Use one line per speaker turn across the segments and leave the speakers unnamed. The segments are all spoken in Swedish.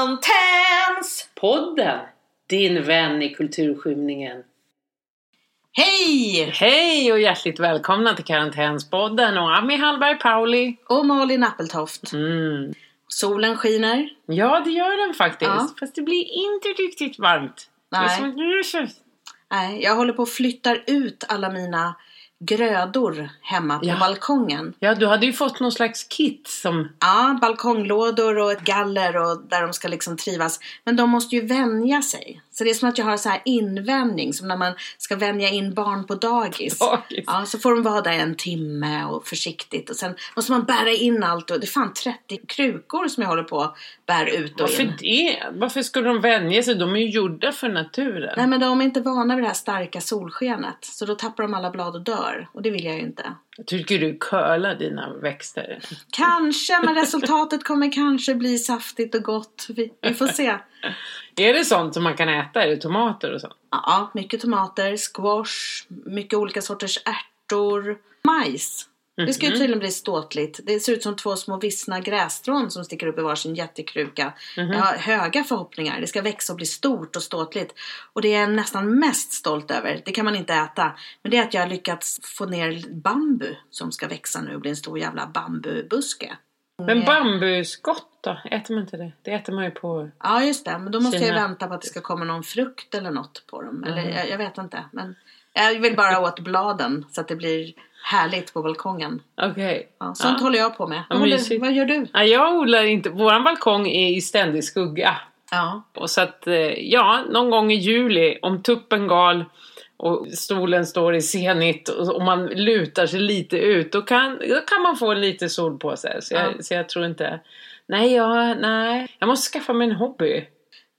Fontans!
Podden! Din vän i kulturskymningen.
Hej!
Hej och hjärtligt välkomna till Karantänspodden och Ami Hallberg Pauli.
Och Malin Appeltoft.
Mm.
Solen skiner.
Ja, det gör den faktiskt.
Ja.
Fast det blir inte riktigt varmt. Det är
Nej.
som ett grus.
Nej, jag håller på och flyttar ut alla mina grödor hemma på
Ja.
balkongen.
Ja, du hade ju fått någon slags kit som...
Ja, balkonglådor och ett galler och där de ska liksom trivas. Men de måste ju vänja sig. Så det är som att jag har så här invänjning, som när man ska vänja in barn på dagis.
Dagis.
Ja, så får de vara där en timme och försiktigt och sen måste man bära in allt och det är fan 30 krukor som jag håller på och bär ut och
Varför
in.
det? Varför skulle de vänja sig? De är ju gjorda för naturen.
Nej men de är inte vana vid det här starka solskenet så då tappar de alla blad och dör och det vill jag ju inte.
Jag tycker du curlar dina växter.
Kanske, men resultatet kommer kanske bli saftigt och gott. Vi, vi får se.
Är det sånt som man kan äta? Är det tomater och sånt?
Ja, mycket tomater, squash, mycket olika sorters ärtor, majs. Det ska ju tydligen bli ståtligt. Det ser ut som två små vissna grässtrån som sticker upp i varsin jättekruka. Jag har höga förhoppningar. Det ska växa och bli stort och ståtligt. Och det är jag nästan mest stolt över, det kan man inte äta, men det är att jag har lyckats få ner bambu som ska växa nu och bli en stor jävla bambubuske.
Men bambuskott då? Äter man inte det? Det äter man ju på...
Ja, just det. Men då måste jag
Kina. Mm.
ju vänta på att det ska komma någon frukt eller något på dem. Eller jag, jag vet inte. Men jag vill bara åt bladen så att det blir härligt på balkongen.
Okej.
Ja, sånt håller jag på med.
Ja,
Vad håller-
mysigt.
vad gör du?
Nej, jag odlar inte. Våran balkong är i ständig skugga.
Ja,
Och så att, eh, ja, någon gång i juli, om tuppen gal och stolen står i senigt och och man lutar sig lite ut, då kan, då kan man få lite sol på sig. Så jag,
Ja.
så jag tror inte... Nej, jag, nej, jag måste skaffa mig en hobby.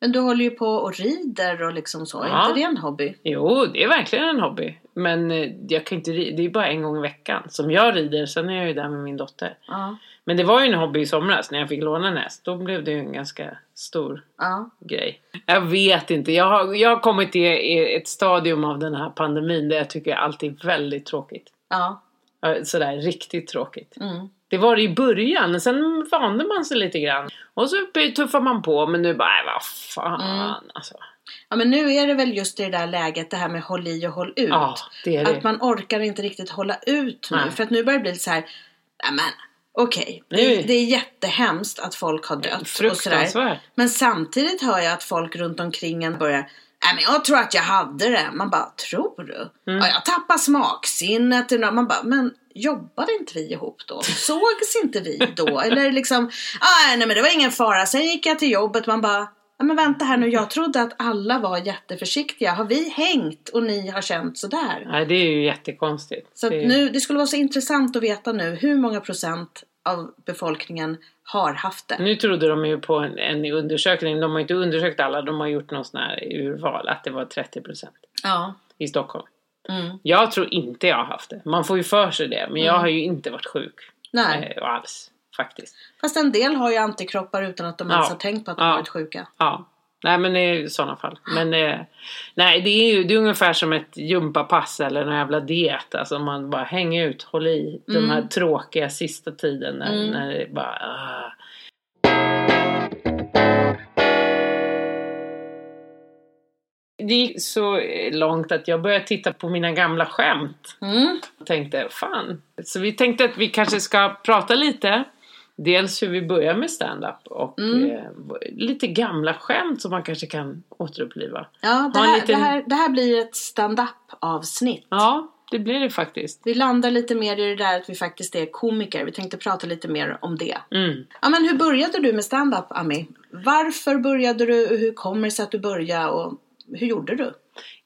men du håller ju på och rider och liksom så. Är
Ja.
inte det en hobby?
Jo, det är verkligen en hobby. Men eh, jag kan inte, ri- det är bara en gång i veckan som jag rider, sen är jag ju där med min dotter.
Ja.
Men det var ju en hobby i somras när jag fick låna en häst. Då blev det ju en ganska stor
ja.
grej. Jag vet inte. Jag har, jag har kommit till i ett stadium av den här pandemin där jag tycker allt är väldigt tråkigt.
ja.
Ja, Sådär riktigt tråkigt.
Mm.
Det var det i början, sen vande man sig lite grann. Och så tuffar man på, men nu bara, "Nej, vad fan
Mm.
alltså.
Ja, men nu är det väl just i det där läget, det här med håll i och håll ut.
Ja, det är det.
Att man orkar inte riktigt hålla ut nu.
Nej.
För att nu börjar det bli så här, nämen, okej,
Nu-
det, det är jättehemskt att folk har dött och sådär.
Fruktansvärt.
Men samtidigt hör jag att folk runt omkring en börjar, nej men jag tror att jag hade det. Man bara, tror du? Ja, jag tappar smaksinnet. eller nå- Man bara, men jobbade inte vi ihop då? Sågs inte vi då? Eller liksom, "Ah, nej men det var ingen fara. Sen gick jag till jobbet, man bara, Ja, men vänta här nu, jag trodde att alla var jätteförsiktiga. Har vi hängt och ni har känt sådär?
Nej, det är ju jättekonstigt.
Så att
det, är-
nu, det skulle vara så intressant att veta nu hur många procent av befolkningen har haft det.
nu trodde de ju på en, en undersökning, de har ju inte undersökt alla, de har gjort någon sån här urval, att det var 30%
Ja.
i Stockholm.
Mm.
Jag tror inte jag har haft det. Man får ju för sig det, men jag har ju inte varit sjuk.
Nej.
Eh, alls, faktiskt.
Fast en del har ju antikroppar utan att de ens
Ja.
har tänkt på att de
Ja.
varit sjuka.
Ja. Nej men det är ju i sådana fall. Men eh, nej det är ju det är ungefär som ett gympapass eller någon jävla diet. Alltså man bara hänger ut, håll i den här tråkiga sista tiden när, när det bara ah. Det gick så eh, långt att jag började titta på mina gamla skämt
Mm.
tänkte, fan. Så vi tänkte att vi kanske ska prata lite. Dels hur vi börjar med stand-up och eh, lite gamla skämt som man kanske kan återuppliva.
Ja, det
Ha en
här,
liten-
det, här, det här blir ett stand-up avsnitt.
Ja, det blir det faktiskt.
Vi landar lite mer i det där att vi faktiskt är komiker. Vi tänkte prata lite mer om det.
Mm.
Ja, men hur började du med stand-up, Ami? Varför började du och hur kommer det sig att du började och hur gjorde du?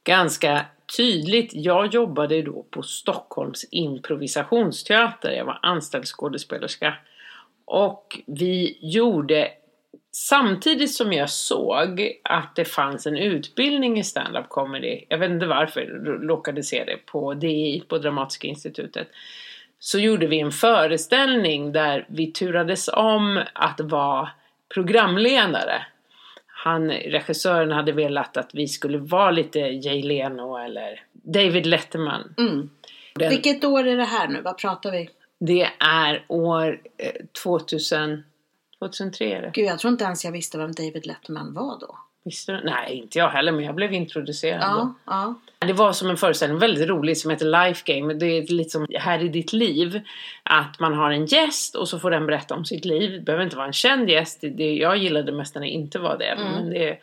Ganska tydligt, jag jobbade ju då på Stockholms improvisationsteater. Jag var anställd skådespelerska. Och vi gjorde Samtidigt som jag såg att det fanns en utbildning i stand-up comedy, jag vet inte varför, r- råkade se det på DI, på Dramatiska institutet, så gjorde vi en föreställning där vi turades om att vara programledare. Han, regissören hade velat att vi skulle vara lite Jay Leno eller David Letterman.
Mm.
Den-
Vilket år är det här nu? Vad pratar vi?
Det är år eh, 2000, 2003 är det.
Gud, jag tror inte ens jag visste vem David Letterman var då.
Visste du? Nej, inte jag heller, men jag blev introducerad då.
Ja, ja.
Det var som en föreställning, väldigt rolig, som heter Life Game. Det är lite som Här i ditt liv. Att man har en gäst och så får den berätta om sitt liv. Det behöver inte vara en känd gäst. Det- Det, jag gillade mest när det inte var det. Men det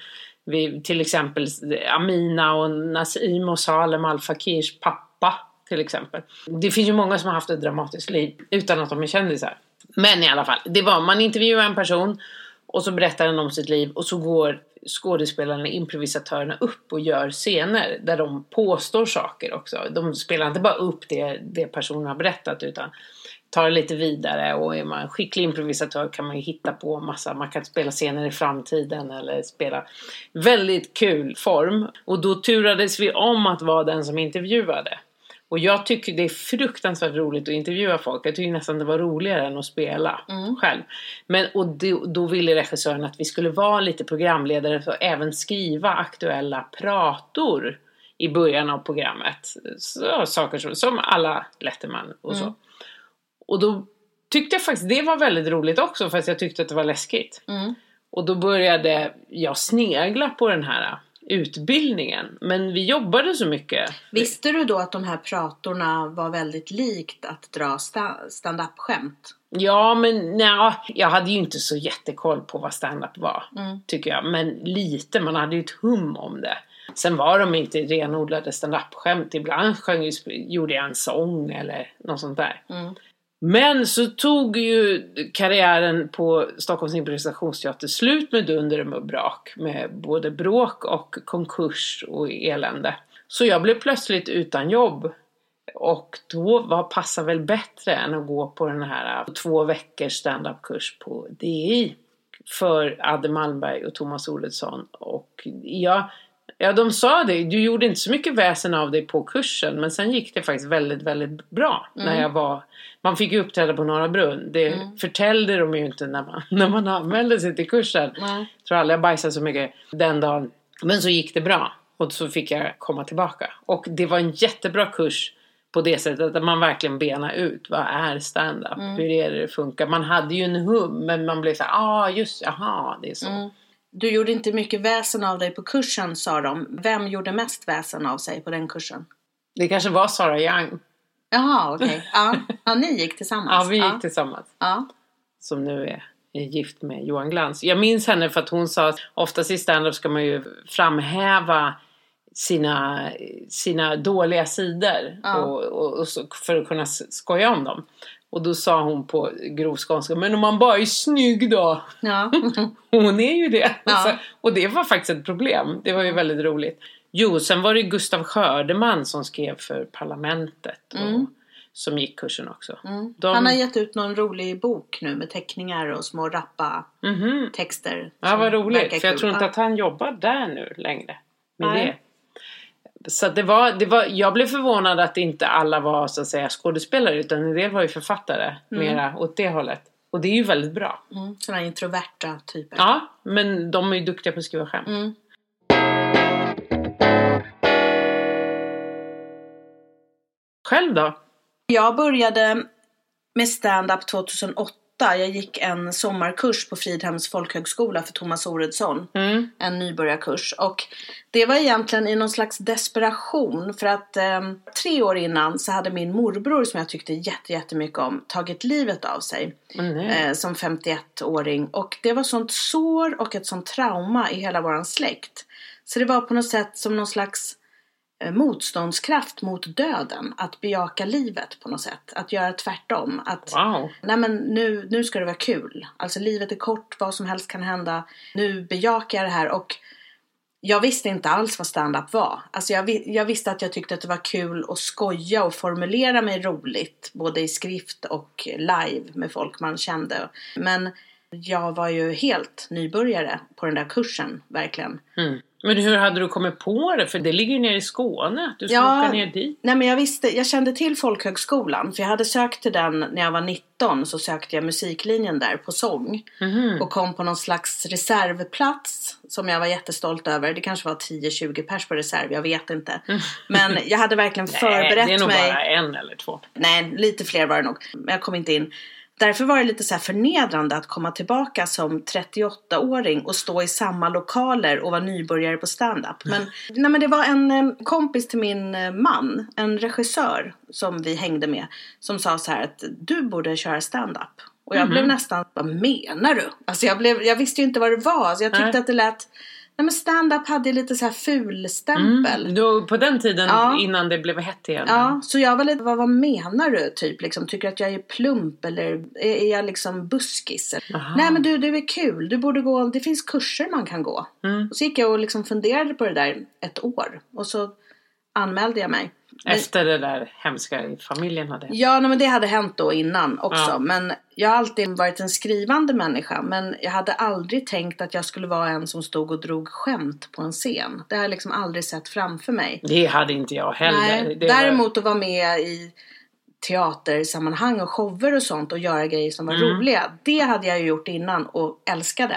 vi, till exempel Amina och Nassim och Salem Al Fakirs pappa. Till exempel. Det finns ju många som har haft ett dramatiskt liv utan att de är kändisar. Men i alla fall, det var, man intervjuar en person och så berättar den om sitt liv och så går skådespelarna, improvisatörerna upp och gör scener där de påstår saker också. De spelar inte bara upp det, det personen har berättat utan tar det lite vidare och är man skicklig improvisatör kan man ju hitta på massa, man kan spela scener i framtiden eller spela väldigt kul form. Och då turades vi om att vara den som intervjuade. Och jag tycker det är fruktansvärt roligt att intervjua folk. Jag tycker nästan det var roligare än att spela själv. Men, och då, då ville regissören att vi skulle vara lite programledare och även skriva aktuella prator i början av programmet. Så, saker som, som alla Letterman och så. Och då tyckte jag faktiskt det var väldigt roligt också fast jag tyckte att det var läskigt.
Mm.
Och då började jag snegla på den här utbildningen. Men vi jobbade så mycket.
Visste du då att de här pratorna var väldigt likt att dra sta- stand-up-skämt?
Ja, men nej, jag hade ju inte så jättekoll på vad stand-up var,
Mm.
tycker jag. Men lite, man hade ju ett hum om det. Sen var de inte renodlade stand-up-skämt. Ibland sjöng, ju- gjorde jag en sång eller något sånt där.
Mm.
Men så tog ju karriären på Stockholms improvisationsteater slut med dunder och brak. Med både bråk och konkurs och elände. Så jag blev plötsligt utan jobb. Och då var passar väl bättre än att gå på den här äh, två veckors standupkurs på DI. För Adde Malmberg och Thomas Olofsson. Och jag, ja, de sa det, du gjorde inte så mycket väsen av dig på kursen. Men sen gick det faktiskt väldigt, väldigt bra. När jag var, man fick ju uppträda på Norra Brunn. Det förtällde de ju inte när man, när man anmälde sig till kursen.
Nej.
Jag tror aldrig jag bajsade så mycket den dagen. Men så gick det bra. Och så fick jag komma tillbaka. Och det var en jättebra kurs på det sättet att man verkligen benar ut vad är stand-up? Hur är det det funkar? Man hade ju en hum men man blev så här, ah just jaha det är så.
Du gjorde inte mycket väsen av dig på kursen, sa de. Vem gjorde mest väsen av sig på den kursen?
Det kanske var Sara Young.
Jaha, okej. Ja. ja, ni gick tillsammans.
Ja vi gick
ja.
tillsammans.
Ja.
som nu är är gift med Johan Glans. Jag minns henne för att hon sa att oftast i standup ska man ju framhäva sina, sina dåliga sidor
Ja.
och, och, och så, för att kunna s- skoja om dem. Och då sa hon på grov skånska, men om man bara är snygg då?
Ja.
Hon är ju det.
Ja.
Så, och det var faktiskt ett problem. Det var ju väldigt roligt. Jo, sen var det Gustav Skördeman som skrev för Parlamentet. Och, Som gick kursen också.
Mm.
De-
Han har gett ut någon rolig bok nu med teckningar och små rappa
Mhm.
texter.
Ja,
Mm. som
vad
verkar
roligt. För jag
kul.
tror inte
Ja.
att han jobbar där nu längre. Med
Nej.
det. Så att det var, det var, jag blev förvånad att inte alla var så att säga skådespelare utan en del var ju författare. Mera åt det hållet. Och det är ju väldigt bra.
Mm. Sådana introverta typer.
Ja, men de är ju duktiga på att skriva skämt.
Mm.
Själv då?
Jag började med stand-up 2008. Jag gick en sommarkurs på Fridhems folkhögskola för Thomas Oredsson.
Mm.
en nybörjarkurs. Och det var egentligen i någon slags desperation för att ehm, tre år innan så hade min morbror som jag tyckte jätte, jättemycket om tagit livet av sig
Men nu.
eh, som 51-åring. Och det var sånt sår och ett sånt trauma i hela våran släkt. Så det var på något sätt som någon slags eh, motståndskraft mot döden. Att bejaka livet på något sätt. Att göra tvärtom. Att
Wow.
Nej men nu, nu ska det vara kul. Alltså livet är kort, vad som helst kan hända. Nu bejakar jag det här och jag visste inte alls vad stand-up var. Alltså jag, vi- jag visste att jag tyckte att det var kul att skoja och formulera mig roligt. Både i skrift och live med folk man kände. Men jag var ju helt nybörjare på den där kursen, verkligen.
Mm. Men hur hade du kommit på det? För det ligger ju nere i Skåne. att Du ska
Ja.
åka ner dit.
Nej men jag visste, jag kände till folkhögskolan för jag hade sökt till den när jag var 19 så sökte jag musiklinjen där på sång.
Mhm.
och kom på någon slags reservplats som jag var jättestolt över. Det kanske var 10-20 pers på reserv, jag vet inte. Men jag hade verkligen
Mm. Nej,
förberett
Eh, det är nog
mig.
bara en eller två.
Nej, lite fler var det nog. Men jag kom inte in. Därför var det lite så här förnedrande att komma tillbaka som 38-åring och stå i samma lokaler och vara nybörjare på stand-up. Men, nej, men det var en eh, kompis till min eh, man, en regissör som vi hängde med, som sa så här att du borde köra stand-up. Och jag blev nästan, vad menar du? Alltså jag, blev, jag visste ju inte vad det var, så jag tyckte
Nej.
att det lät, nej men stand-up hade ju lite så här fulstämpel.
Mm. Då, på den tiden
Ja.
innan det blev hett igen.
Ja, så jag var lite, vad, vad menar du typ liksom? Tycker du att jag är plump eller är, är jag liksom buskis?
Aha.
Nej men du, du är kul, du borde gå, det finns kurser man kan gå.
Mm.
Och så gick jag och liksom funderade på det där ett år och så anmälde jag mig. Men,
Efter det där hemska i familjen hade hänt.
ja, nej, men det hade hänt då innan också.
Ja.
Men jag har alltid varit en skrivande människa. Men jag hade aldrig tänkt att jag skulle vara en som stod och drog skämt på en scen. Det har jag liksom aldrig sett framför mig.
Det hade inte jag heller.
Nej,
det var-
däremot att vara med i teatersammanhang och shower och sånt och göra grejer som var
Mm.
roliga. Det hade jag ju gjort innan och älskade.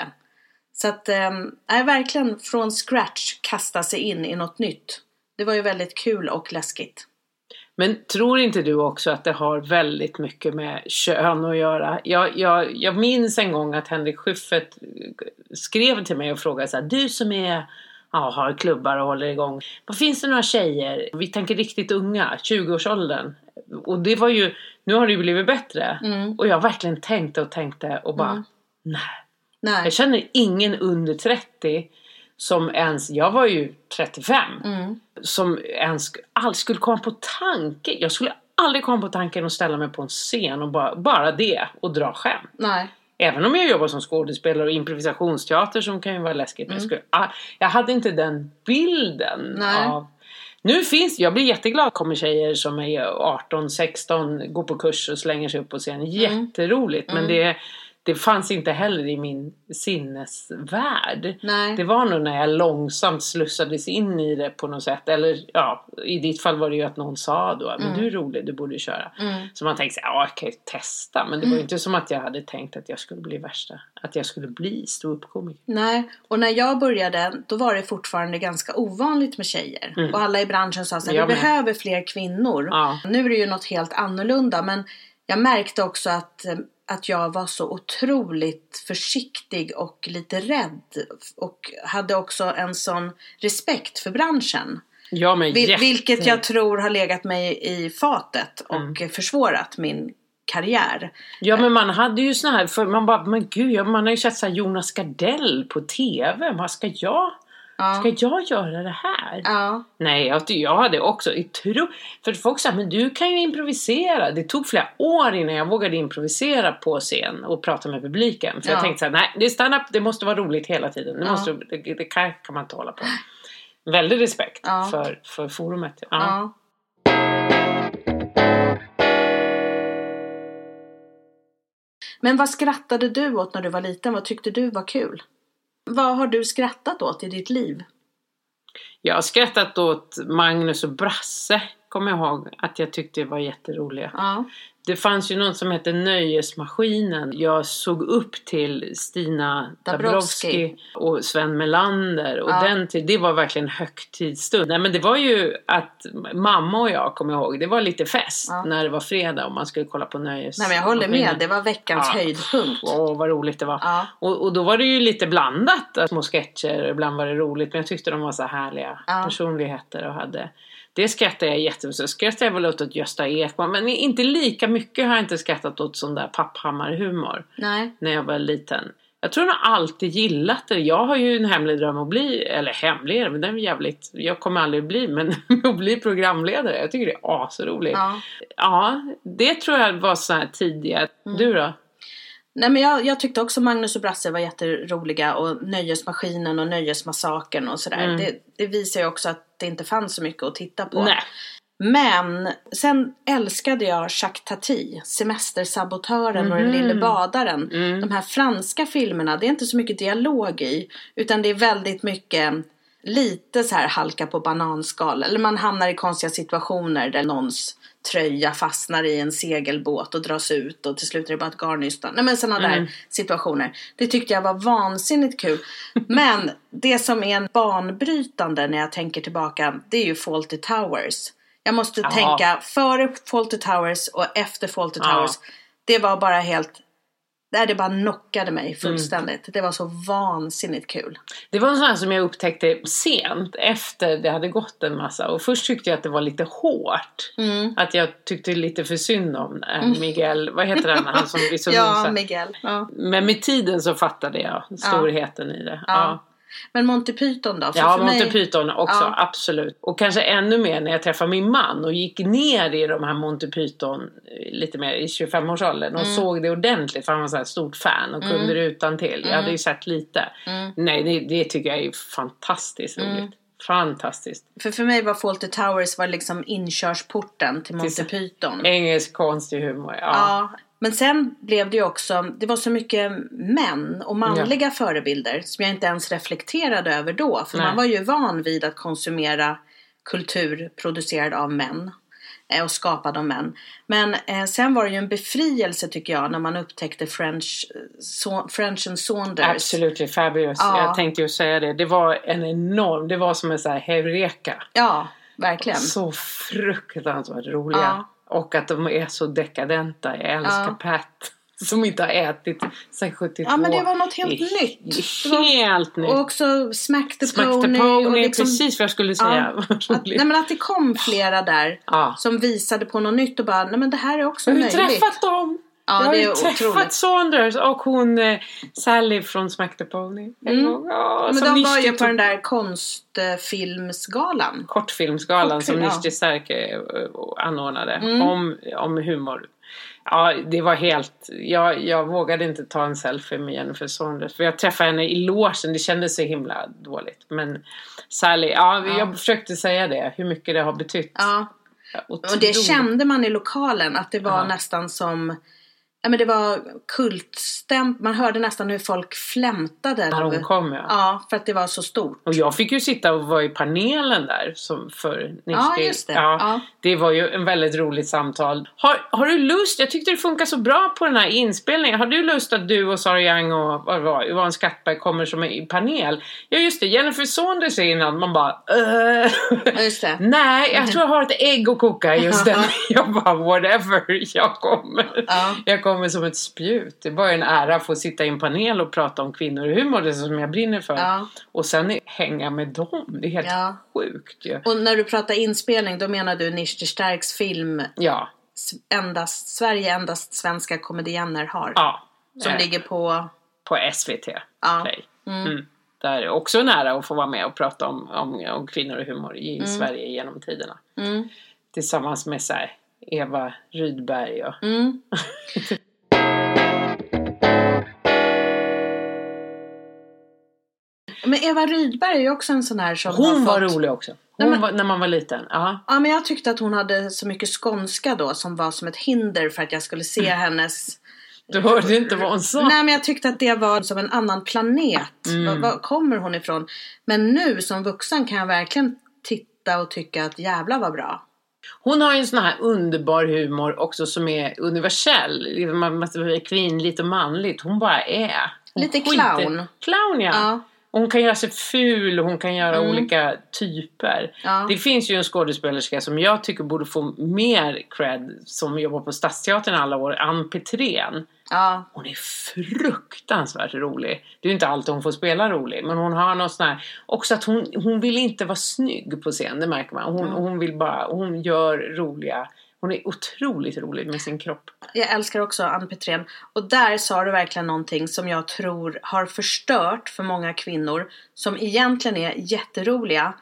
Så att, ehm, nej, verkligen från scratch kasta sig in i något nytt. Det var ju väldigt kul och läskigt.
Men tror inte du också att det har väldigt mycket med kön att göra? Jag, jag, jag minns en gång att Henrik Schyffert skrev till mig och frågade så här, du som är Ja, har klubbar och håller igång. Vad finns det några tjejer? Vi tänker riktigt unga, 20-årsåldern. Och det var ju, nu har det ju blivit bättre.
Mm.
Och jag verkligen tänkte och tänkte och bara,
Mm.
nej.
Nej.
Jag känner ingen under 30 som ens, jag var ju 35
Mm.
som ens alls skulle komma på tanken. Jag skulle aldrig komma på tanken att ställa mig på en scen och bara, bara det och dra skämt.
Nej.
Även om jag jobbar som skådespelare och improvisationsteater som kan ju vara läskigt. Men jag, skulle, ah, jag hade inte den bilden
Nej.
av... Nu finns jag blir jätteglad kommer tjejer som är 18, 16, går på kurs och slänger sig upp på scen. Jätteroligt. Men det, det fanns inte heller i min sinnesvärld.
Nej.
Det var nog när jag långsamt slussades in i det på något sätt. Eller ja, i ditt fall var det ju att någon sa då, men du är rolig, du borde köra.
Mm.
Så man tänkte så här, ja jag kan ju testa. Men det var ju inte som att jag hade tänkt att jag skulle bli värsta, att jag skulle bli ståuppkomiker.
Nej, och när jag började då var det fortfarande ganska ovanligt med tjejer. Och alla i branschen sa så här,
Mm. Jag
vi
med.
behöver fler kvinnor.
Ja.
Nu är det ju något helt annorlunda men jag märkte också att, eh, att jag var så otroligt försiktig och lite rädd. Och hade också en sån respekt för branschen.
Ja men
Vil-
jätte-
Vilket jag tror har legat mig i fatet och
Mm.
försvårat min karriär.
Ja men man hade ju såna här, för man bara, men gud, ja, man har ju sett så här Jonas Gardell på TV. Vad ska jag,
Ja.
ska jag göra det här?
Ja,
Nej, jag, jag hade också i tro... För folk sa, men du kan ju improvisera. Det tog flera år innan jag vågade improvisera på scen och prata med publiken. För
Ja.
jag tänkte så här, nej, det är stand-up, det måste vara roligt hela tiden. Det,
Ja.
måste, det, det kan, kan man inte hålla på. Väldig respekt
Ja.
för, för forumet. Ja.
ja. Men vad skrattade du åt när du var liten? Vad tyckte du var kul? Vad har du skrattat åt i ditt liv?
Jag har skrattat åt Magnus och Brasse, kommer jag ihåg, att jag tyckte det var jätteroliga.
Ja.
Det fanns ju någon som hette Nöjesmaskinen. Jag såg upp till Stina
Dabrowski.
Dabrowski och Sven Melander. Och
Ja.
den till, det var verkligen högtidsstund. Nej, men det var ju att mamma och jag, kommer jag ihåg, det var lite fest
Ja.
när det var fredag och man skulle kolla på Nöjesmaskinen.
Nej men jag håller med, det var veckans
Ja.
höjdpunkt.
Åh, vad roligt det var.
Ja.
Och, och då var det ju lite blandat, att små sketcher, ibland var det roligt, men jag tyckte de var så härliga
Ja.
personligheter och hade det skrattade jag jättemycket Så skrattade jag väl åt att Gösta Ekman, men inte lika mycket har jag inte skrattat åt sån där papphammarhumor
Nej.
när jag var liten. Jag tror nog alltid gillat det. Jag har ju en hemlig dröm att bli, eller hemlig är det, men den är jävligt, jag kommer aldrig bli, men att bli programledare. Jag tycker det är asroligt. Ja.
Ja.
det tror jag var så här tidiga.
Mm.
Du då?
Nej men jag, jag tyckte också Magnus och Brasse var jätteroliga och Nöjesmaskinen och Nöjesmassakern och sådär.
Mm.
Det, det visar ju också att det inte fanns så mycket att titta på.
Nej.
Men sen älskade jag Jacques Tati, Semestersabotören och Den
Mhm.
lille badaren.
Mm.
De här franska filmerna, det är inte så mycket dialog i utan det är väldigt mycket lite så här halka på bananskal eller man hamnar i konstiga situationer där någons tröja fastnar i en segelbåt och dras ut och till slut är det bara ett garnnystan. Nej men sådana
Mm.
där situationer. Det tyckte jag var vansinnigt kul. Men det som är en banbrytande när jag tänker tillbaka det är ju Fawlty Towers. Jag måste
Ja.
tänka före Fawlty Towers och efter Fawlty
Ja.
Towers. Det var bara helt... Nej, det bara knockade
Mm.
mig fullständigt. Det var så vansinnigt kul.
Det var en sån här som jag upptäckte sent efter det hade gått en massa och först tyckte jag att det var lite hårt.
Mm.
Att jag tyckte lite för synd om eh, Miguel, vad heter han, han som blir så
Ja,
men...
Miguel. Ja.
men med tiden så fattade jag storheten i det. Ja.
Ja. Men Monty Python då? För
Ja,
för
Monty
mig-
Python också,
Ja.
absolut. Och kanske ännu mer när jag träffade min man och gick ner i de här Monty Python eh, lite mer i 25-årsåldern
Mm.
och såg det ordentligt för han var så här stort fan och kunde det utan till. Jag
Mm.
hade ju sett lite. Nej, det, det tycker jag är fantastiskt
Mm.
roligt. Fantastiskt.
För, för mig var Fawlty Towers var liksom inkörsporten till Monty
Till-
Python.
Engelsk konstig humor. Ja.
Ja. Men sen blev det ju också, det var så mycket män och manliga förebilder som jag inte ens reflekterade över då. För
Nej.
man var ju van vid att konsumera kultur producerad av män eh, och skapad av män. Men eh, sen var det ju en befrielse tycker jag när man upptäckte French, eh, so, French and Saunders.
Absolutely fabulous.
Ja.
Jag tänkte ju säga det. Det var en enorm, det var som en så här heureka.
Ja, verkligen.
Så fruktansvärt roliga.
Ja.
Och att de är så dekadenta. Jag älskar
Ja.
Pat. Som inte har ätit sedan 72.
Ja, men det var något helt
Det är
nytt. Det var-
Helt nytt.
Och också Smack the
Smack the
Pony. och
Pony,
liksom,
precis vad jag skulle säga.
Ja,
Vad
att,
roligt.
nej men att det kom flera där
Ja.
som visade på något nytt och bara, nej men det här är också
Jag har ju
möjligt.
träffat dem.
Ja,
jag har
det
ju
är
träffat
otroligt.
Saunders och hon eh, Sally från Smack the Pony. en gång. Ja,
Mm. Men
som
de var
Nishti
ju på
tog-
den där konstfilmsgalan.
kortfilmsgalan som
Kortfilm, ja. Mm.
Nishti Serke eh, anordnade om, om humor. Ja, det var helt... Jag, jag vågade inte ta en selfie med Jennifer Saunders för jag träffade henne i logen, det kändes så himla dåligt. Men Sally, ja, jag försökte säga det, hur mycket det har betytt.
Ja. Och det
Otroligt.
kände man i lokalen att det var
Ja.
nästan som Ja, men det var kultstämt. Man hörde nästan hur folk flämtade.
När hon
av-
kom, ja.
Ja, för att det var så stort.
Och jag fick ju sitta och vara i panelen där som för Nishti.
Ja, just det.
Ja,
Ja.
Det var ju en väldigt roligt samtal. Har, har du lust, jag tyckte det funkar så bra på den här inspelningen, har du lust att du och Sara Young och vad det var, Yvonne Skattberg kommer som en panel? Ja just det, Jennifer Saunders är innan, man bara eh.
Ja, just det.
Nej, jag tror jag har ett ägg att koka just den. Jag bara whatever, jag kommer.
Ja.
Jag kommer som ett spjut. Det var ju en ära att få sitta i en panel och prata om kvinnor och humor, det är som jag brinner för.
Ja.
Och sen hänga med dem, det är helt
Ja.
sjukt ju.
Och när du pratar inspelning, då menar du Nishti Starks film
Ja,
s- endast, Sverige endast svenska komedienner har.
ja.
Som
Eh.
ligger på...
på SVT
Ja.
Play. Mm. Där är det också nära att få vara med och prata om, om, om kvinnor och humor i Sverige genom tiderna.
Mm.
Tillsammans med så här, Eva Rydberg och...
Mm. Men Eva Rydberg är ju också en sån här som har
Hon
fått...
var rolig också. Hon
Nej, men-
var, när man var liten. Ja.
Ja, men jag tyckte att hon hade så mycket skånska då som var som ett hinder för att jag skulle se
Mm.
hennes...
Du hörde inte vad hon sa.
Nej, men jag tyckte att det var som en annan planet.
Mm.
Var, var kommer hon ifrån? Men nu som vuxen kan jag verkligen titta och tycka att jävla vad bra.
Hon har ju en sån här underbar humor också som är universell. Man måste vara kvinnligt och manligt. Hon bara är. Hon
Lite
skiter-
clown.
Clown ja.
Ja. Mm.
Hon kan göra sig ful, hon kan göra olika typer.
Ja.
Det finns ju en skådespelerska som jag tycker borde få mer cred som jobbar på Stadsteatern alla år, Ann Petrén.
Ja,
Hon är fruktansvärt rolig. Det är ju inte alltid hon får spela rolig, men hon har någon sån här... Också att hon, hon vill inte vara snygg på scen, det märker man. Hon, hon vill bara... Hon gör roliga... Hon är otroligt rolig med sin kropp.
Jag älskar också Ann Petrén. Och där sa du verkligen någonting som jag tror har förstört för många kvinnor som egentligen är jätteroliga.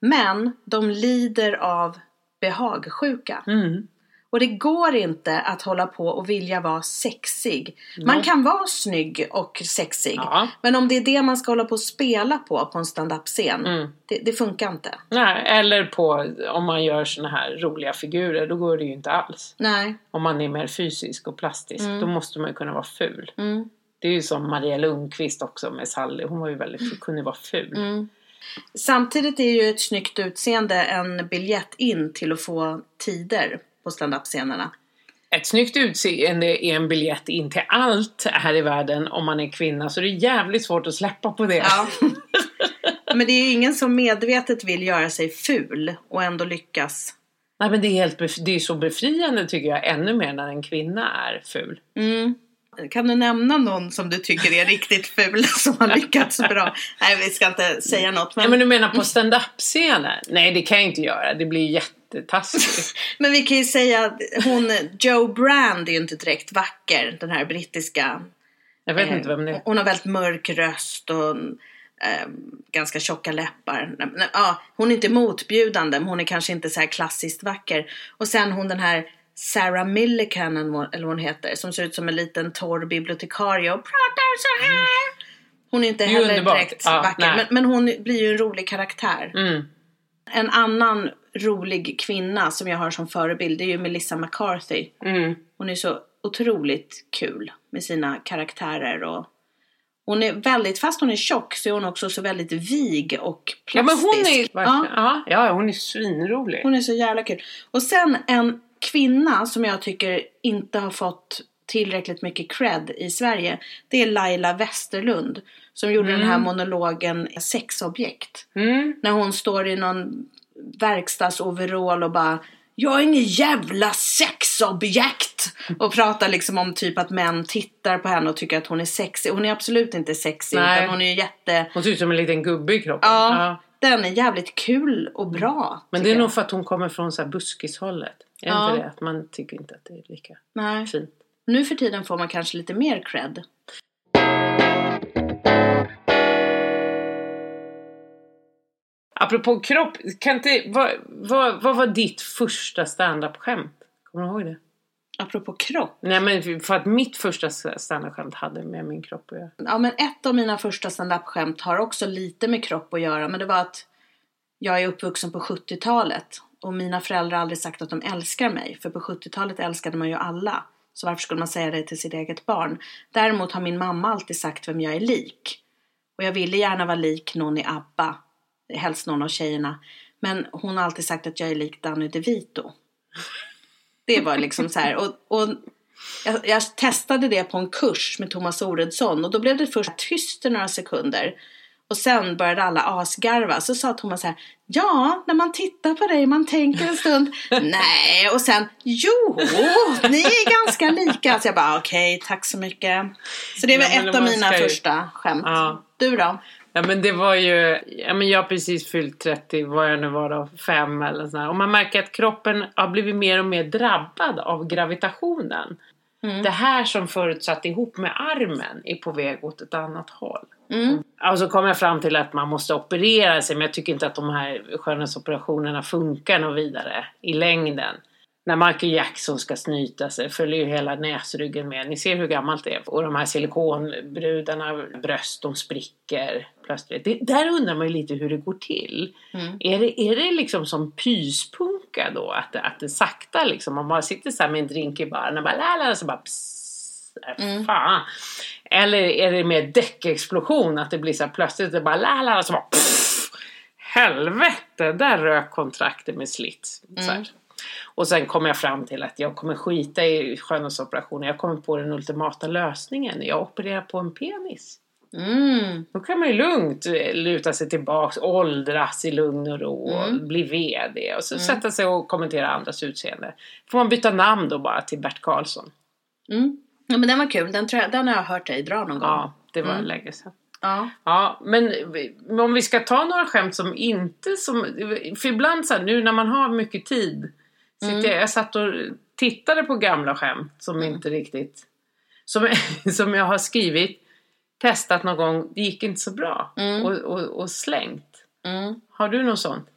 Men de lider av behagsjuka.
Mm.
Och det går inte att hålla på och vilja vara sexig. Man kan vara snygg och sexig.
Ja.
Men om det är det man ska hålla på och spela på, på en standup-scen.
Mm.
Det, det funkar inte.
Nej, eller på... Om man gör såna här roliga figurer, då går det ju inte alls.
Nej.
Om man är mer fysisk och plastisk, då måste man ju kunna vara ful.
Mm.
Det är ju som Maria Lundqvist också med Sally. Hon var ju väldigt, kunde vara ful.
Mm. Samtidigt är ju ett snyggt utseende en biljett in till att få tider på standup-scenerna.
Ett snyggt utseende är en biljett in till allt här i världen om man är kvinna så det är jävligt svårt att släppa på det.
Ja. Men det är ju ingen som medvetet vill göra sig ful och ändå lyckas.
Nej men det är, helt bef- det är så befriande tycker jag ännu mer när en kvinna är ful.
Mm. Kan du nämna någon som du tycker är riktigt ful som har lyckats bra? Nej, vi ska inte säga något.
Nej men du menar på stand-up-scenen? Nej det kan jag inte göra, det blir jättetaskigt.
Men vi kan ju säga att hon, Joe Brand är ju inte direkt vacker, den här brittiska.
Jag vet
eh,
inte vem det är.
Hon har väldigt mörk röst och eh, ganska tjocka läppar. Nej, nej, Ja, hon är inte motbjudande, men hon är kanske inte så här klassiskt vacker. Och sen hon den här Sarah Millican, eller vad- eller vad hon heter, som ser ut som en liten torr bibliotekarie och pratar så här. Hon är inte
Det är ju
heller
underbart.
direkt
Ja,
vacker, men,
nej.
men hon blir ju en rolig karaktär.
Mm.
En annan rolig kvinna som jag har som förebild det är ju Melissa McCarthy.
Mm.
Hon är så otroligt kul med sina karaktärer och hon är väldigt, fast hon är tjock så är hon också så väldigt vig och
Ja men
plastisk.
hon är
ja,
verkligen, ja. Ja, hon är svinrolig.
hon är så jävla kul. Och sen en kvinna som jag tycker inte har fått tillräckligt mycket cred i Sverige. Det är Laila Westerlund som gjorde den här monologen Sexobjekt
Mm.
när hon står i någon verkstadsoverall och bara jag är ingen jävla sexobjekt! Och pratar liksom om typ att män tittar på henne och tycker att hon är sexig. Hon är absolut inte sexig
Nej.
utan hon är ju jätte...
Hon ser ut som en liten gubbe i kroppen.
Ja,
Ja.
den är jävligt kul och bra.
Men det
tycker
är
jag.
nog för att hon kommer från så här buskishållet. Är
Ja.
inte det? Att man tycker inte att det är lika
Nej.
fint.
Nu för tiden får man kanske lite mer cred.
Apropå kropp, kan inte, vad, vad, vad var ditt första standup-skämt? Kommer du ihåg det?
Apropå kropp.
Nej men för att mitt första standup-skämt hade med min kropp att göra.
Ja men ett av mina första standup-skämt har också lite med kropp att göra. Men det var att jag är uppvuxen på 70-talet. Och mina föräldrar har aldrig sagt att de älskar mig. För på 70-talet älskade man ju alla. Så varför skulle man säga det till sitt eget barn? Däremot har min mamma alltid sagt vem jag är lik. Och jag ville gärna vara lik någon i ABBA. Helst någon av tjejerna. Men hon har alltid sagt att jag är lik Danny DeVito. Det var liksom så här. Och, och jag, jag testade det på en kurs med Thomas Oredsson. Och då blev det först tyst i några sekunder. Och sen började alla asgarva. Så sa Thomas så här. Ja, när man tittar på dig, man tänker en stund. Nej, och sen jo, ni är ganska lika. Så jag bara okej, tack så mycket. Så det var
Ja, men
ett av
man
mina
ska ju-
första skämt.
Ja.
Du då?
Ja men det var ju, ja men jag har precis fyllt 30, vad jag nu var då, 5 eller sådär. Och man märker att kroppen har blivit mer och mer drabbad av gravitationen. Det här som förut satt ihop med armen är på väg åt ett annat håll.
Mm.
Och så kom jag fram till att man måste operera sig men jag tycker inte att de här skönhetsoperationerna funkar något vidare i längden. När Michael Jackson ska snyta sig följer ju hela näsryggen med. Ni ser hur gammalt det är. Och de här silikonbrudarna, bröst, de spricker plötsligt. Det, där undrar man ju lite hur det går till. Är, det, är det liksom som pyspunka då? Att, det- att det sakta liksom, man bara sitter så här med en drink i baren och bara la la, så bara pss, äh, fan. Eller är det mer däckexplosion? Att det blir så här plötsligt, det bara la la, så bara pff, helvete, där rök kontraktet med slitt. Så här. Och sen kom jag fram till att jag kommer skita i skönhetsoperationer. Jag kommer på den ultimata lösningen. Jag opererar på en penis.
Mm.
Då kan man ju lugnt eh, luta sig tillbaks, åldras i lugn och ro och bli VD och så sätta sig och kommentera andras utseende. Får man byta namn då bara till Bert Karlsson?
Mm. Ja, men den var kul. Den, tror jag, den har jag hört dig dra någon gång.
Ja, det var
Mm.
länge sedan.
Ja.
Ja, men vi- men om vi ska ta några skämt som inte som... För ibland så här, nu när man har mycket tid. Sitter
Mm.
jag, jag satt och tittade på gamla skämt som inte riktigt... Som, som jag har skrivit, testat någon gång, det gick inte så bra.
Mm.
Och, och, och slängt.
Mm.
Har du något sånt?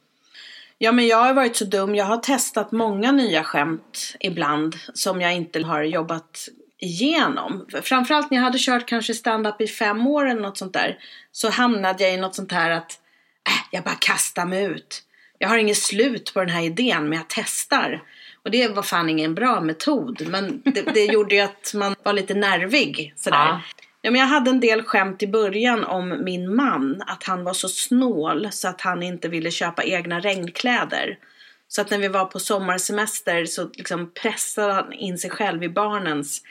ja, men jag har varit så dum. Jag har testat många nya skämt ibland som jag inte har jobbat igenom. Framförallt när jag hade kört kanske stand-up i fem år eller något sånt där. Så hamnade jag i något sånt här att äh, jag bara kastar mig ut. Jag har inget slut på den här idén men jag testar. Och det var fan ingen bra metod. Men det, det gjorde ju att man var lite nervig sådär.
Ja.
Ja, men jag hade en del skämt i början om min man, att han var så snål så att han inte ville köpa egna regnkläder. Så att när vi var på sommarsemester så liksom pressade han in sig själv i barnens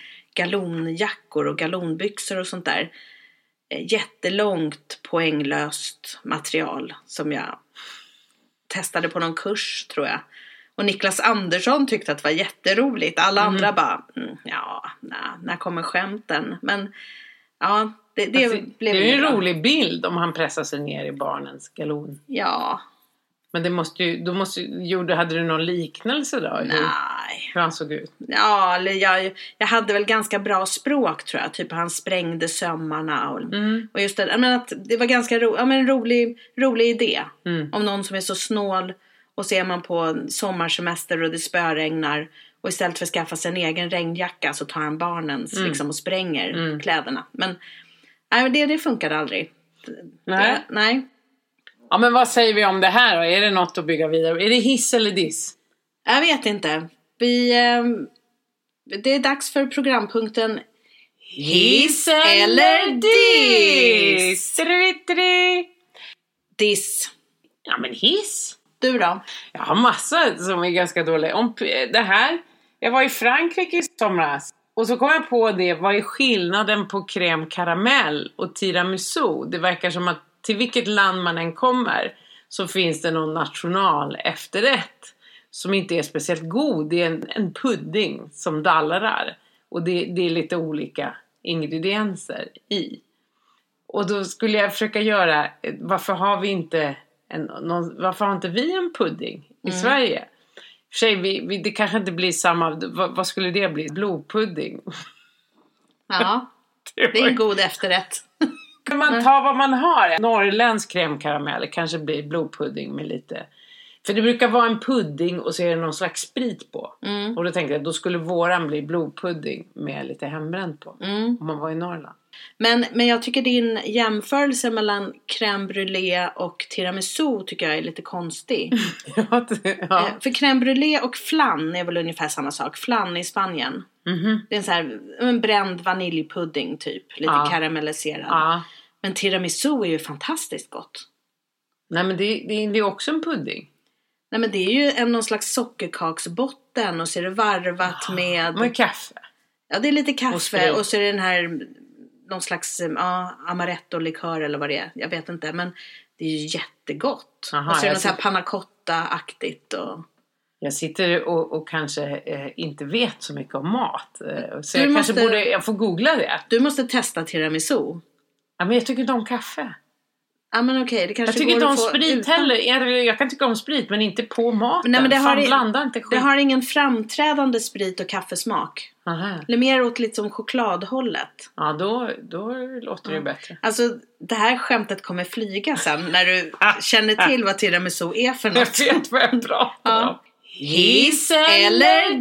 galonjackor och galonbyxor och sånt där. Eh, Jättelångt poänglöst material som jag testade på någon kurs tror jag. Och Niklas Andersson tyckte att det var jätteroligt. Alla andra bara, mm, ja, na, när kommer skämten? Men ja, det, det
Alltså, det
blev
är ju
ju
en
bra.
rolig bild om han pressar sig ner i barnens galon.
Ja, men
Men det måste ju, då måste, ju- jo, då hade du någon liknelse då? Hur,
nej.
hur han såg ut?
Ja, eller jag, jag hade väl ganska bra språk tror jag. Typ han sprängde sömmarna och,
Mm.
och just det. ja, Men att det var ganska ro, ja, men en rolig, rolig idé.
Mm.
Om någon som är så snål och ser man på sommarsemester och det spöregnar och istället för att skaffa sig en egen regnjacka så tar han barnens liksom, och spränger kläderna. Men nej, men det, det funkade aldrig.
Nej.
Det, nej.
Ja, men vad säger vi om det här då? Är det något att bygga vidare Är det hiss eller diss?
Jag vet inte. Vi, ehm, det är dags för programpunkten Hiss eller diss?
Trutri.
Diss.
Ja, men hiss.
Du då?
Jag har massa som är ganska dåliga. Om p- det här, jag var i Frankrike i somras och så kom jag på det, vad är skillnaden på crème karamell och tiramisu? Det verkar som att till vilket land man än kommer så finns det någon national efterrätt som inte är speciellt god. Det är en, en pudding som dallrar och det, det är lite olika ingredienser i. Och då skulle jag försöka göra, eh, varför har vi inte, en, någon, varför har inte vi en pudding i
Mm.
Sverige? För sig, vi, vi, det kanske inte blir samma, vad, vad skulle det bli? Blodpudding?
Ja, det är en god efterrätt.
Kan man ta vad man har? Norrländsk krämkaramell kanske blir blodpudding med lite... För det brukar vara en pudding och så är det någon slags sprit på.
Mm.
Och då tänkte jag, då skulle våran bli blodpudding med lite hembränt på.
Mm.
Om man var i Norrland.
Men, men jag tycker din jämförelse mellan crème brûlée och tiramisu tycker jag är lite konstig.
ja. det- ja.
Eh, För crème brûlée och flan är väl ungefär samma sak. Flan i Spanien.
Mhm.
Det är en, så här, en bränd vaniljpudding typ. Lite
Ja.
karamelliserad.
ja.
Men tiramisu är ju fantastiskt gott.
Nej men det, det, det är också en pudding.
Nej men det är ju en, någon slags sockerkaksbotten och så är det varvat med...
Med kaffe.
Ja det är lite
Ah, Och
kaffe
sprit.
och, så är det den här... Någon slags eh, ja, amaretto-likör eller vad det är. Jag vet inte men det är ju jättegott.
Aha,
och så är det
jag
något så här panna cotta-aktigt och...
Jag sitter och, och kanske eh, inte vet så mycket om mat. Eh, så
Du
jag
måste-
kanske borde, jag får googla det.
Du måste testa tiramisu.
Ja, men jag tycker inte om kaffe.
Ja men okej det
Jag
kanske
tycker
går
inte om
att få
sprit
utan-
heller. Jag, jag kan tycka om sprit men inte på maten.
Nej, men det
Fan,
har i-
blanda inte skit.
Det har ingen framträdande sprit och kaffesmak.
Aha.
Eller mer åt lite som chokladhållet.
Ja, då, då låter det ju bättre.
Alltså det här skämtet kommer flyga sen när du känner till vad tiramisu är för
Jag
något.
vet vad jag pratar
Ja.
om. Hiss eller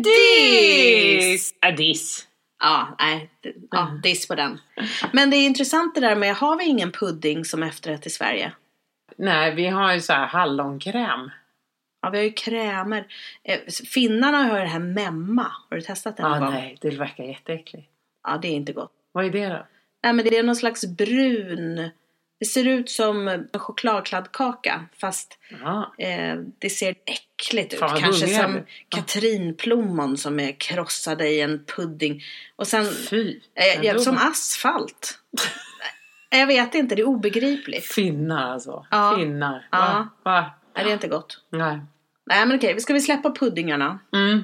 diss? Ja, diss.
Ja, nej, det- ja, diss på den. Men det är intressant det där med, har vi ingen pudding som efterrätt i Sverige?
Nej, vi har ju så här hallonkräm.
Ja, vi har ju krämer. Eh, Finnarna har ju det här memma. Har du testat det någon
Ja,
gång?
nej, det verkar jätteäckligt.
Ja, det är inte gott.
Vad är det då?
Nej, men det är någon slags brun... Det ser ut som en chokladkladdkaka fast
Ja,
Eh, det ser äckligt ut.
Fan, vad
Kanske
hungrig jag
som
blir. Ja.
katrinplommon som är krossade i en pudding. Och sen
fy.
eh, ja,
Ändå.
som asfalt. Nej, jag vet inte, det är obegripligt.
Finnar alltså.
Ja.
Finnar.
Ja.
Va? Va?
Nej, det är inte gott.
Nej.
Nej men okej, vi ska vi släppa puddingarna.
Mm.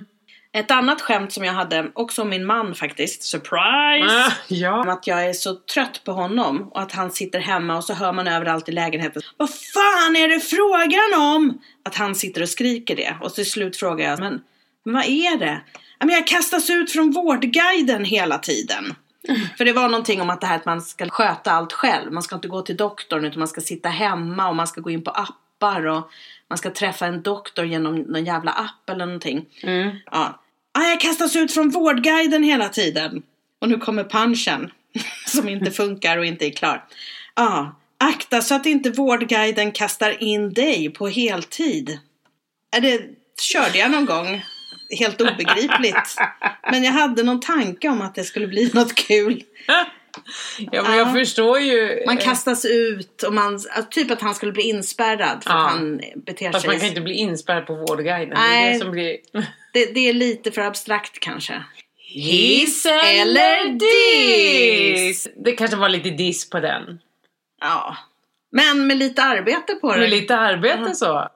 Ett annat skämt som jag hade, också om min man faktiskt. Surprise!
Ah,
Om
ja.
att jag är så trött på honom och att han sitter hemma och så hör man överallt i lägenheten. Vad fan är det frågan om? Att han sitter och skriker det. Och till slut frågar jag, men, men vad är det? "Ja, Men jag kastas ut från Vårdguiden hela tiden. För det var någonting om att det här att man ska sköta allt själv. Man ska inte gå till doktorn utan man ska sitta hemma och man ska gå in på appar och man ska träffa en doktor genom någon jävla app eller någonting.
Mm.
Ja. Ah, jag kastas ut från Vårdguiden hela tiden. Och nu kommer punchen. Som inte funkar och inte är klar. Ja. Akta så att inte Vårdguiden kastar in dig på heltid. Är det körde jag någon gång. Helt obegripligt. Men jag hade någon tanke om att det skulle bli något kul.
ja, men jag
Ja.
förstår ju.
Man
eh,
kastas ut och man, alltså, typ att han skulle bli inspärrad för
Ja.
att han beter
Fast man kan
sig.
inte bli inspärrad på Vårdguiden. Det är
Nej.
det som blir...
Det, det är lite för abstrakt kanske.
Hiss
eller diss?
Det kanske var lite diss på den.
Ja. Men med lite arbete på det.
Med lite arbete så.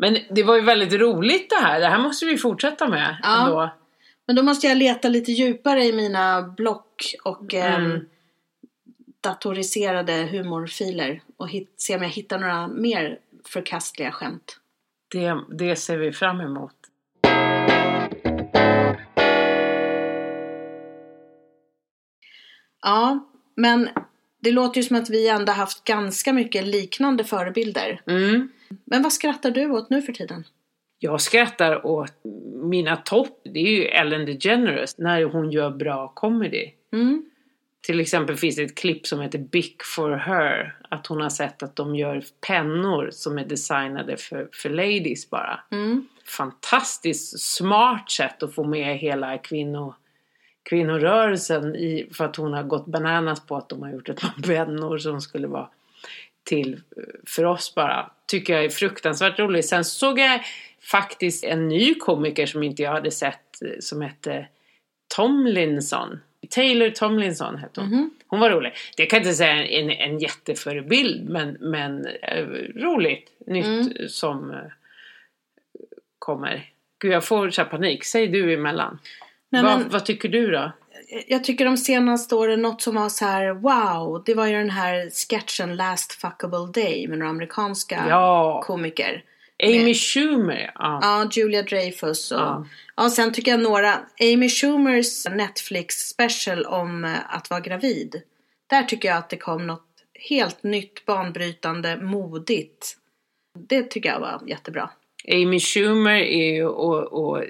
Men det var ju väldigt roligt det här. Det här måste vi fortsätta med.
Ja.
Ändå.
Men då måste jag leta lite djupare i mina block och
Mm.
ehm, datoriserade humorfiler och hit, se om jag hittar några mer förkastliga skämt.
Det, det ser vi fram emot.
Ja, men det låter ju som att vi ändå haft ganska mycket liknande förebilder.
Mm.
Men vad skrattar du åt nu för tiden?
Jag skrattar åt mina topp. Det är ju Ellen DeGeneres när hon gör bra comedy.
Mm.
Till exempel finns det ett klipp som heter Big for her. Att hon har sett att de gör pennor som är designade för, för ladies bara.
Mm.
Fantastiskt smart sätt att få med hela kvinno, kvinnorörelsen i, för att hon har gått bananas på att de har gjort ett par pennor som skulle vara till eh, för oss bara. Tycker jag är fruktansvärt rolig. Sen såg jag faktiskt en ny komiker som inte jag hade sett eh, som hette Tomlinson. Taylor Tomlinson hette hon.
Mhm.
Hon var rolig. Det kan jag inte säga en, en jätteförebild men, men eh, roligt. Nytt
Mm.
som eh, kommer. Gud jag får så här panik. Säg du emellan.
Nej,
vad,
men-
vad tycker du då?
Eh, Jag tycker de senaste åren något som var så här wow, det var ju den här sketchen Last fuckable day med några amerikanska
Ja,
komiker.
Amy Schumer. Ja.
Ja, Julia Dreyfus och... Ja.
Ja.
sen tycker jag några... Amy Schumers Netflix special om eh, att vara gravid. Där tycker jag att det kom något helt nytt, banbrytande, modigt. Det tycker jag var jättebra.
Amy Schumer är ju och, och,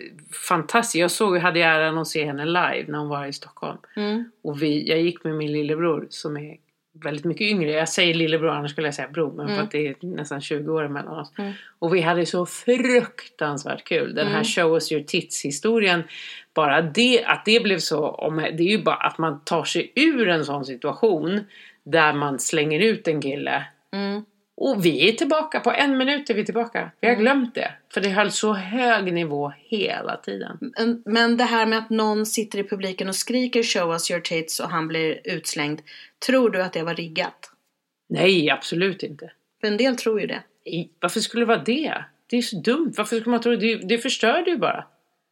fantastisk. Jag såg, hade äran att se henne live när hon var i Stockholm.
Mm.
Och vi, jag gick med min lillebror som är väldigt mycket yngre. Jag säger lillebror, annars skulle jag säga bror. Men för att det är nästan 20 år mellan oss.
Mm.
Och vi hade så fruktansvärt kul. Den här show us your tits historien. Bara det, att det blev så. Om, det är ju bara att man tar sig ur en sån situation. Där man slänger ut en kille.
Mm.
Och vi är tillbaka, på en minut är vi tillbaka. Vi har glömt det. För det höll så hög nivå hela tiden.
Men- Men det här med att någon sitter i publiken och skriker show us your tits och han blir utslängd. Tror du att det var riggat?
Nej, absolut inte.
För en del tror ju det.
Nej, Varför skulle det vara det? Det är så dumt. Varför skulle man tro det? Det förstörde ju bara.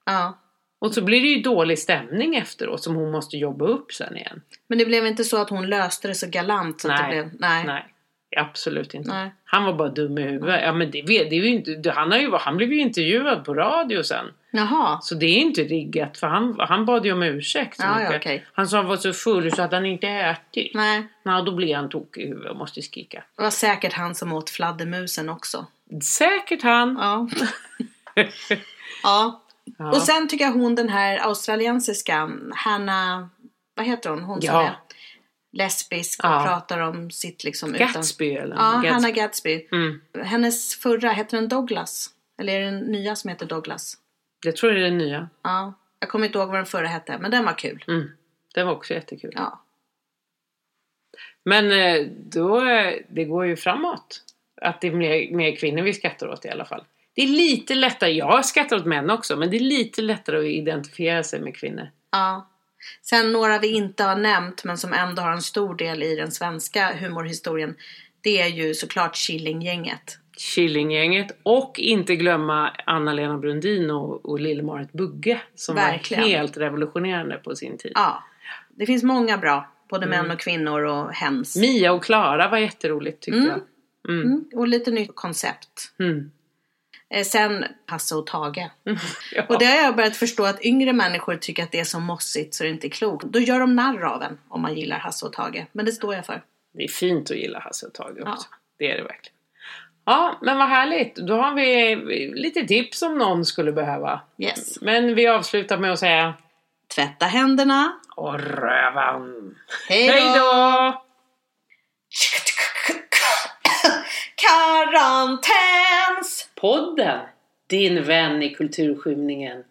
Ja.
Och så blir det ju dålig stämning efteråt som hon måste jobba upp sen igen.
Men det blev inte så att hon löste det så galant så att det
Nej.
blev... Nej.
Nej, absolut inte.
Nej.
Han var bara dum i huvudet. Ja, men det, vet- det är ju inte, det- han, har ju, han blev ju intervjuad på radio sen.
Jaha.
Så det är inte riggat för han, han bad ju om ursäkt. så
Ja, ja,
mycket.
okej.
Han sa han var så full så att han inte ätit.
Nej.
Nej, då blir han tokig i huvudet och måste skrika.
Det var säkert han som åt fladdermusen också.
Säkert han!
Ja. ja.
Ja.
Och sen tycker jag hon den här australiensiska, Hanna, vad heter hon? Hon som
Ja.
är lesbisk och
Ja.
pratar om sitt liksom
Gatsby eller?
Ja,
Gatsby.
Hanna Gatsby.
Mm.
Hennes förra, heter den Douglas? Eller är det den nya som heter Douglas?
Jag tror det är den nya.
Ja. Jag kommer inte ihåg vad den förra hette, men den var kul.
Mm. Den var också jättekul.
Ja.
Men eh, då, eh, det går ju framåt. Att det är mer, mer kvinnor vi skrattar åt i alla fall. Det är lite lättare, jag skrattar åt män också, men det är lite lättare att identifiera sig med kvinnor.
Ja. Sen några vi inte har nämnt men som ändå har en stor del i den svenska humorhistorien. Det är ju såklart Killinggänget.
Killinggänget och inte glömma Anna-Lena Brundin och, och Lill-Marit Bugge som
Verkligen.
var helt revolutionerande på sin tid.
Ja. Det finns många bra. Både män och kvinnor och hens.
Mia och Klara var jätteroligt tyckte
Mm.
jag.
Mm. Och lite nytt koncept.
Mm.
Eh, Sen Passe och Tage.
Ja.
Och det har jag börjat förstå att yngre människor tycker att det är så mossigt så det inte är klokt. Då gör de narr av en om man gillar Hasse och Tage. Men det står jag för.
Det är fint att gilla Hasse och Tage också. Det är det verkligen. Ja, men vad härligt. Då har vi lite tips om någon skulle behöva.
Yes.
Men vi avslutar med att säga
Tvätta händerna.
Åh rövan!
Hej
Hej
då!
då!
Karantäns!
Podden! Din vän i kulturskymningen.